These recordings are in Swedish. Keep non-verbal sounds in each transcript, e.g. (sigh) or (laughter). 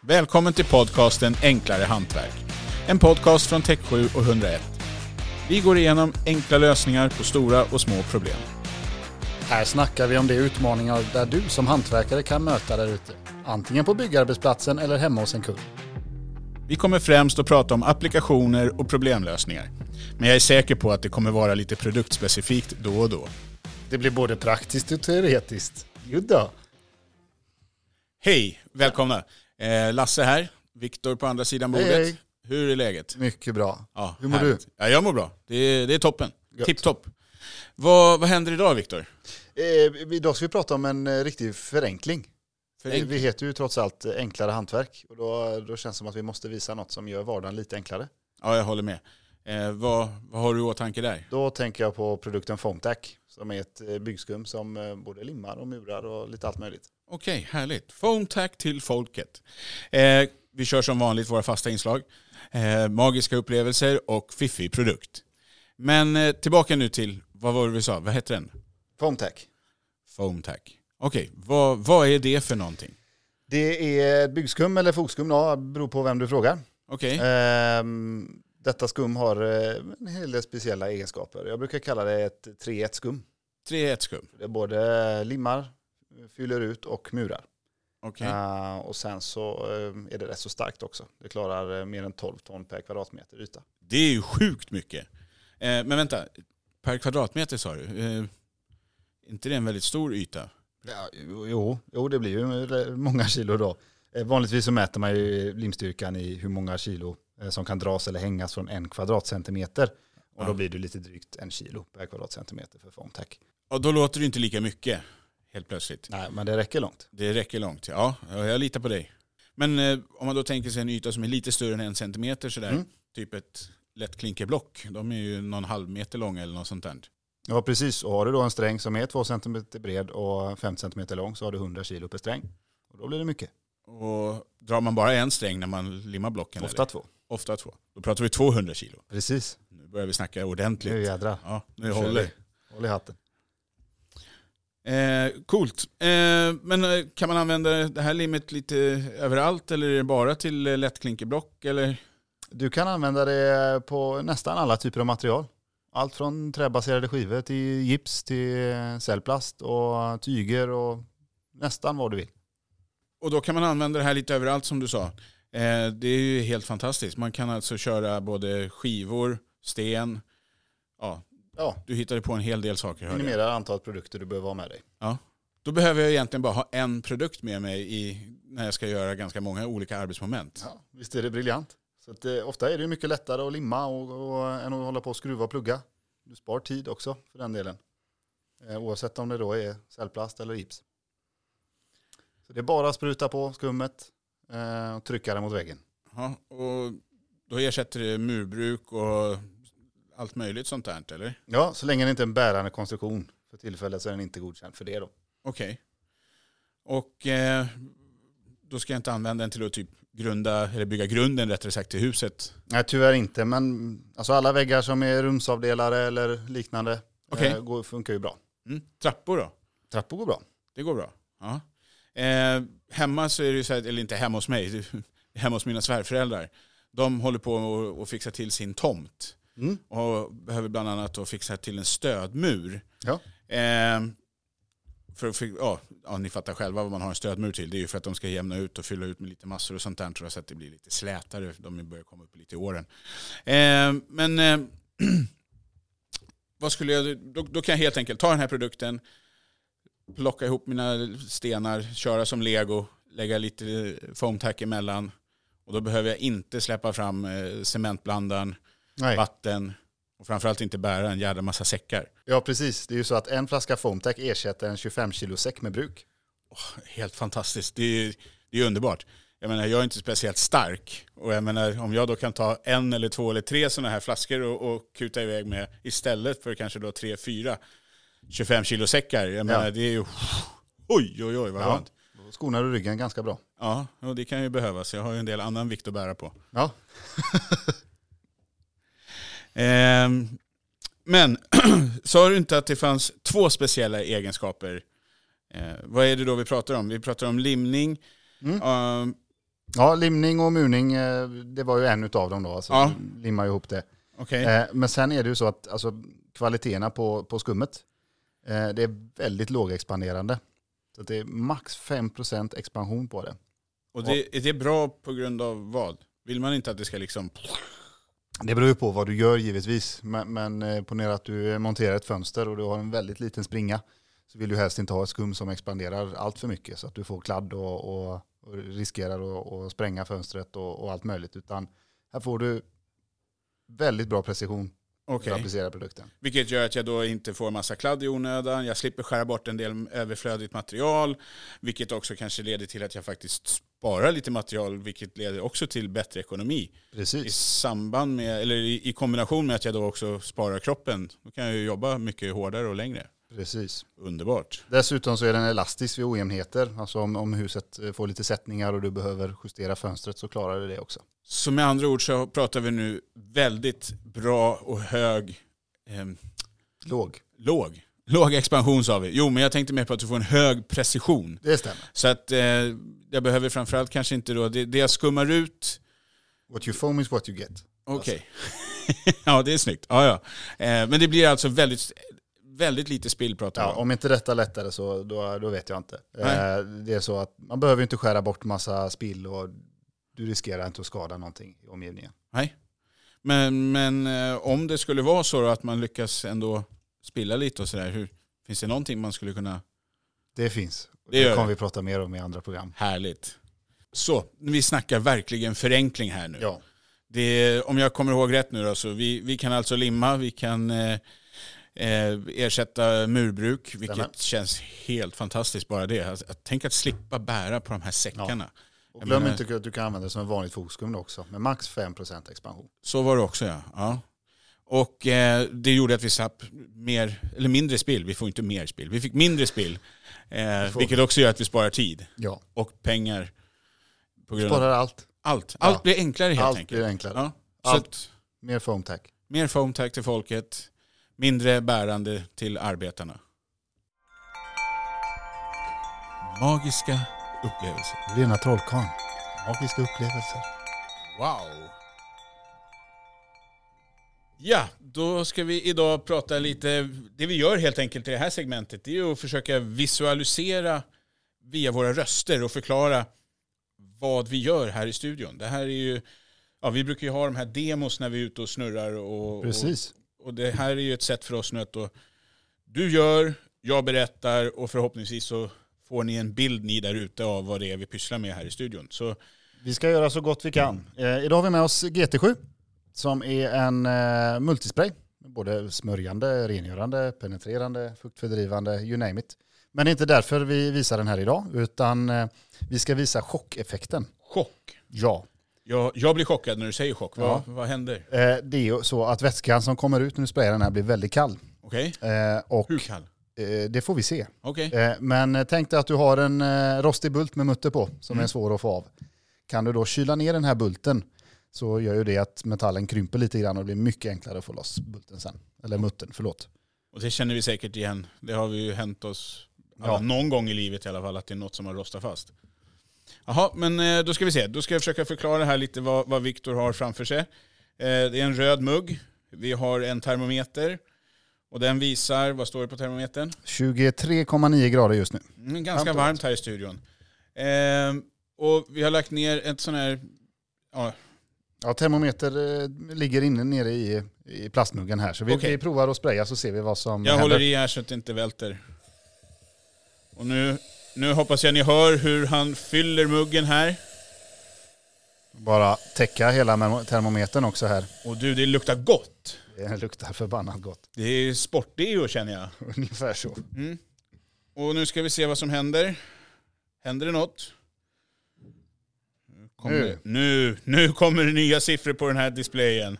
Välkommen till podcasten Enklare Hantverk. En podcast från Tech7 och 101. Vi går igenom enkla lösningar på stora och små problem. Här snackar vi om de utmaningar där du som hantverkare kan möta där ute. Antingen på byggarbetsplatsen eller hemma hos en kund. Vi kommer främst att prata om applikationer och problemlösningar. Men jag är säker på att det kommer vara lite produktspecifikt då och då. Det blir både praktiskt och teoretiskt. Jodå. Hej, välkomna! Eh, Lasse här, Viktor på andra sidan bordet. Hej, hej. Hur är läget? Mycket bra. Ja, Hur mår härligt. Ja, jag mår bra. Det är, det är toppen. Gött. Tipptopp. Vad, vad händer idag Viktor? Eh, idag ska vi prata om en eh, riktig förenkling. Förenkling. Vi heter ju trots allt eh, enklare hantverk. Och då, då känns det som att vi måste visa något som gör vardagen lite enklare. Ja, jag håller med. Eh, vad, vad har du i åtanke där? Då tänker jag på produkten Foamtac. Som är ett eh, byggskum som eh, både limmar och murar och lite allt möjligt. Okej, härligt. Foamtack till folket. Eh, vi kör som vanligt våra fasta inslag. Eh, magiska upplevelser och fiffig produkt. Men eh, tillbaka nu till, vad var det vi sa, vad heter den? Foamtac. Foamtack. Okej, vad, vad är det för någonting? Det är byggskum eller fogskum, ja, beror på vem du frågar. Okej, Eh. Ehm, detta skum har eh, en hel del speciella egenskaper. Jag brukar kalla det ett 3-1-skum. 3-1 skum. Det både limmar, fyller ut och murar. Okej, Eh, och sen så eh, är det rätt så starkt också. Det klarar eh, mer än 12 ton per kvadratmeter yta. det är ju sjukt mycket. Eh, men vänta, per kvadratmeter sa du? Eh, inte det en väldigt stor yta? Ja, jo, jo, det blir ju många kilo då. Eh, Vanligtvis så mäter man ju limstyrkan i hur många kilo eh, som kan dras eller hängas från en kvadratcentimeter. Och Ja. då blir det lite drygt en kilo per kvadratcentimeter för Foamtac. Ja, då låter det inte lika mycket helt plötsligt. Nej, men det räcker långt. Det räcker långt, ja. Jag litar på dig. Men eh, om man då tänker sig en yta som är lite större än en centimeter sådär, Mm. typ ett lätt klinkerblock, de är ju någon halv meter långa eller något sånt där. Ja, precis. Och har du då en sträng som är 2 cm bred och 5 cm lång så har du 100 kilo per sträng. Och då blir det mycket. Och drar man bara en sträng när man limmar blocken? Ofta eller? två. Ofta två. Då pratar vi 200 kilo. Precis. Nu börjar vi snacka ordentligt. Nu jädrar. Ja, nu Nu kör håller. Håll i hatten. Eh, coolt. Eh, men eh, kan man använda det här limmet lite överallt eller är det bara till eh, lätt klinkerblock? Eller? Du kan använda det på nästan alla typer av material. Allt från träbaserade skivor till gips till cellplast och tyger och nästan vad du vill. Och då kan man använda det här lite överallt som du sa. Eh, det är ju helt fantastiskt. Man kan alltså köra både skivor, sten, ja, Ja, du hittade på en hel del saker. hörde jag. minimera antalet produkter du behöver ha med dig. Då behöver jag egentligen bara ha en produkt med mig i, när jag ska göra ganska många olika arbetsmoment. Ja, visst är det briljant. Så att, eh, ofta är det ju mycket lättare att limma och, och, än att hålla på och skruva och plugga. Du spar tid också för den delen. Eh, oavsett om det då är cellplast eller gips. Så det är bara att spruta på skummet eh, och trycka det mot väggen. Ja, och då ersätter det murbruk och allt möjligt sånt där, eller? Ja, så länge det inte är en bärande konstruktion. För tillfället så är den inte godkänd för det då. Okej. Och eh, då ska jag inte använda den till att typ grunda, eller bygga grunden rättare sagt till huset. Nej, tyvärr inte. Men alltså alla väggar som är rumsavdelare eller liknande Okej. eh, går, funkar ju bra. Mm. Trappor då? Trappor går bra. Det går bra. Ja. Eh, hemma så är det ju så här, eller inte hemma hos mig, (laughs) det är hemma hos mina svärföräldrar. De håller på och, och fixar till sin tomt Mm. och behöver bland annat då fixa till en stödmur. Ja. Eh, för att, fi- ja, ja, ni fattar själva vad man har en stödmur till. Det är ju för att de ska jämna ut och fylla ut med lite massor och sånt där tror jag, så att det blir lite slätare. De börjar komma upp lite i åren. Eh, men eh, (clears throat) vad skulle jag, då, då kan jag helt enkelt ta den här produkten, plocka ihop mina stenar, köra som lego, lägga lite foamtack emellan. Och då behöver jag inte släppa fram eh, cementblandaren, Nej. vatten och framförallt inte bära en jävla massa säckar. Ja, precis. Det är ju så att en flaska Foamtec ersätter en 25 kilo säck med bruk. Helt fantastiskt. Det är, det är underbart. Jag menar, jag är inte speciellt stark. Och jag menar, om jag då kan ta en eller två eller tre sådana här flaskor och, och kuta iväg med istället för kanske då tre, fyra 25 kilo säckar. Jag menar, det är ju... Oj, oj, oj, vad Ja. skönt. Då skonar du ryggen ganska bra. Ja, och det kan ju behövas. Jag har ju en del annan vikt att bära på. Ja. Ehm, men (clears throat) sa du inte att det fanns två speciella egenskaper? Eh, vad är det då vi pratar om? Vi pratar om limning, Mm. ehm, Ja, limning och muning, eh, det var ju en utav dem då. Alltså, Ja. Limma ihop det. Okej. Eh, men sen är det ju så att alltså, kvaliteterna på, på skummet, eh, det är väldigt lågexpanderande. Så att det är max 5% expansion på det. Och det, är det bra på grund av vad? Vill man inte att det ska liksom... (sniffs) Det beror ju på vad du gör givetvis. Men, men eh, ponera att du eh, monterar ett fönster och du har en väldigt liten springa. Så vill du helst inte ha ett skum som expanderar allt för mycket så att du får kladd och, och, och riskerar att och spränga fönstret och, och allt möjligt. Utan här får du väldigt bra precision för Okej. att applicera produkten. Vilket gör att jag då inte får massa kladd i onödan. Jag slipper skära bort en del överflödigt material. Vilket också kanske leder till att jag faktiskt sparar lite material. Vilket leder också till bättre ekonomi. I Precis. samband med, eller i, i kombination med att jag då också sparar kroppen. Då kan jag ju jobba mycket hårdare och längre. Precis. Underbart. Dessutom så är den elastisk vid ojämnheter. Alltså om, om huset eh, får lite sättningar och du behöver justera fönstret så klarar det det också. Så med andra ord så pratar vi nu väldigt bra och hög ehm, Låg. Låg. Låg expansion sa vi. Jo, men jag tänkte mer på att du får en hög precision. Det stämmer. Så att eh, jag behöver framförallt kanske inte då, det, det jag skummar ut, What you foam is what you get. okej. (laughs) ja, det är snyggt. Ja, ja. Eh, men det blir alltså väldigt, väldigt lite spill pratar vi Ja, om. om inte detta lättare så då, då vet jag inte. Nej. Eh, det är så att man behöver inte skära bort massa spill och du riskerar inte att skada någonting i omgivningen. Nej. Men, men eh, om det skulle vara så då att man lyckas ändå spilla lite och sådär, hur, finns det någonting man skulle kunna... Det finns. Det Det, gör kommer det. vi prata mer om i andra program. Härligt. Så, vi snackar verkligen förenkling här nu. Ja, Det, om jag kommer ihåg rätt nu då, så vi, vi kan alltså limma, vi kan eh, eh, ersätta murbruk, vilket Stämmer. känns helt fantastiskt bara det. Alltså, att- tänk att slippa bära på de här säckarna. och Jag glöm menar- inte att du kan använda det som en vanligt fotskum också med max 5% expansion. Så var det också ja. ja. Och eh, det gjorde att vi slapp mer, eller mindre spill, vi får inte mer spill, vi fick mindre spill. Eh, får- vilket också gör att vi sparar tid Ja, och pengar. På grund av sparar allt. allt. Allt Ja. blir enklare helt Allt enkelt. blir enklare. Ja. Så Allt. att, Mer foam tack. Mer foamtack till folket, mindre bärande till arbetarna. Magiska upplevelser. Rena trollkarlen. Magiska upplevelser. Wow! Ja, då ska vi idag prata lite, det vi gör helt enkelt i det här segmentet det är ju att försöka visualisera via våra röster och förklara vad vi gör här i studion. Det här är ju, ja vi brukar ju ha de här demos när vi är ute och snurrar och, och Precis. Och det här är ju ett sätt för oss nu att då, du gör, jag berättar och förhoppningsvis så får ni en bild ni där ute av vad det är vi pysslar med här i studion. Så Vi ska göra så gott vi kan. Eh, idag har vi med oss GT7 som är en eh, multispray. Både smörjande, rengörande, penetrerande, fuktfördrivande, you name it. Men det är inte därför vi visar den här idag, utan eh, vi ska visa chockeffekten. chock. Ja. Jag, jag blir chockad när du säger chock. Ja. Vad, vad händer? Eh, det är ju så att vätskan som kommer ut när du sprayar den här blir väldigt kall. Okej? Eh, och Hur kall? eh, det får vi se. Okej. Eh, Men eh, tänk dig att du har en eh, rostig bult med mutter på som Mm. är svår att få av. Kan du då kyla ner den här bulten så gör ju det att metallen krymper lite grann och det blir mycket enklare att få loss bulten sen. Eller muttern, förlåt. Och det känner vi säkert igen. Det har ju hänt oss alla, Ja. någon gång i livet i alla fall att det är något som har rostat fast. Jaha, men eh, då ska vi se. Då ska jag försöka förklara här lite vad, vad Viktor har framför sig. Eh, Det är en röd mugg. Vi har en termometer. Och den visar, vad står det på termometern? 23,9 grader just nu. Mm, ganska Varmt och varmt här i studion. Ehm, och vi har lagt ner ett sån här, ja, Ja, termometer eh, ligger inne nere i, i plastmuggen här. Så vi, Okej. vi provar att spraya så ser vi vad som jag händer. håller i här så att det inte välter. Och nu, nu hoppas jag ni hör hur han fyller muggen här. Bara täcka hela memo- termometern också här. Och du, det luktar gott. Det luktar förbannat gott. (laughs) Det är sport-deo känner jag. Ungefär så. Och nu ska vi se vad som händer. Händer det något? Nu kommer, Nu. det- nu, nu kommer det nya siffror på den här displayen.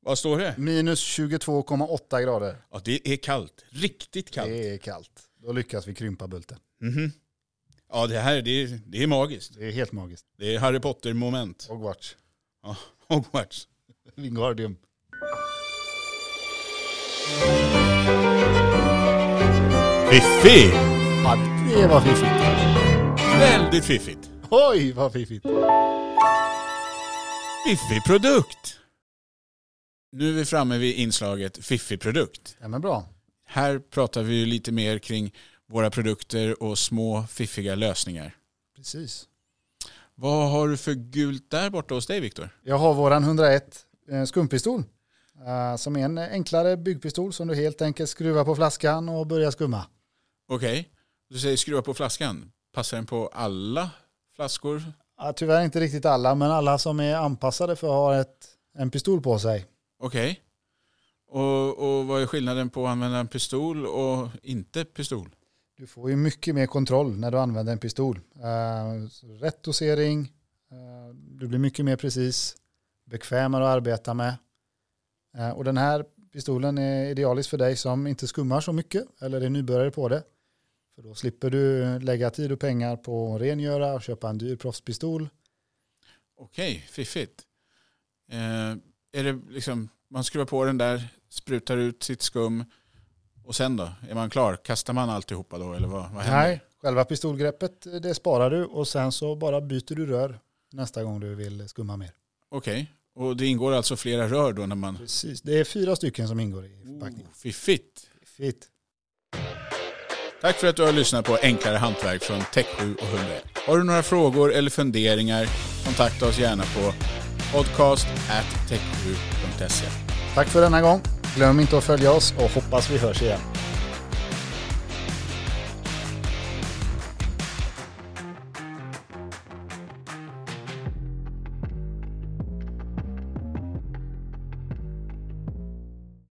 Vad står det? Minus 22,8 grader. Ja, det är kallt. Riktigt kallt. Det är kallt. Då lyckas vi krympa bulten. Mhm. Ja, det här det är, det är magiskt. Det är helt magiskt. Det är Harry Potter-moment. (laughs) Hogwarts. Ja, (laughs) Hogwarts. Wingardium. Fiffi! Ja, det var fiffigt. Väldigt fiffigt. Oj, vad fiffigt. Fiffig produkt! Nu är vi framme vid inslaget fiffig produkt. Ja, men bra. Här pratar vi ju lite mer kring våra produkter och små fiffiga lösningar. Precis. Vad har du för gult där borta hos dig Viktor? Jag har våran 101 eh, skumpistol. eh, Som är en enklare byggpistol som du helt enkelt skruvar på flaskan och börjar skumma. Okej, du säger skruva på flaskan. Passar den på alla flaskor? Ja, tyvärr inte riktigt alla, men alla som är anpassade för att ha ett, en pistol på sig. Okej. Och, och vad är skillnaden på att använda en pistol och inte pistol? Du får ju mycket mer kontroll när du använder en pistol. Eh, så Rätt dosering, eh, du blir mycket mer precis, bekvämare att arbeta med. Eh, Och den här pistolen är idealisk för dig som inte skummar så mycket eller är nybörjare på det. För då slipper du lägga tid och pengar på att rengöra och köpa en dyr proffspistol. Okej, fiffigt. Eh, är det liksom, man skruvar på den där, sprutar ut sitt skum och sen då? Är man klar? Kastar man alltihopa då eller vad, vad händer? Nej, själva pistolgreppet eh, det sparar du och sen så bara byter du rör nästa gång du vill skumma mer. Okej, och det ingår alltså flera rör då när man... Precis, det är fyra stycken som ingår i Oh, förpackningen. fiffigt. Fitt. Tack för att du har lyssnat på Enklare Hantverk från Tech7 och 101. Har du några frågor eller funderingar, kontakta oss gärna på podcast at tech7.se. Tack för denna gång. Glöm inte att följa oss och hoppas vi hörs igen.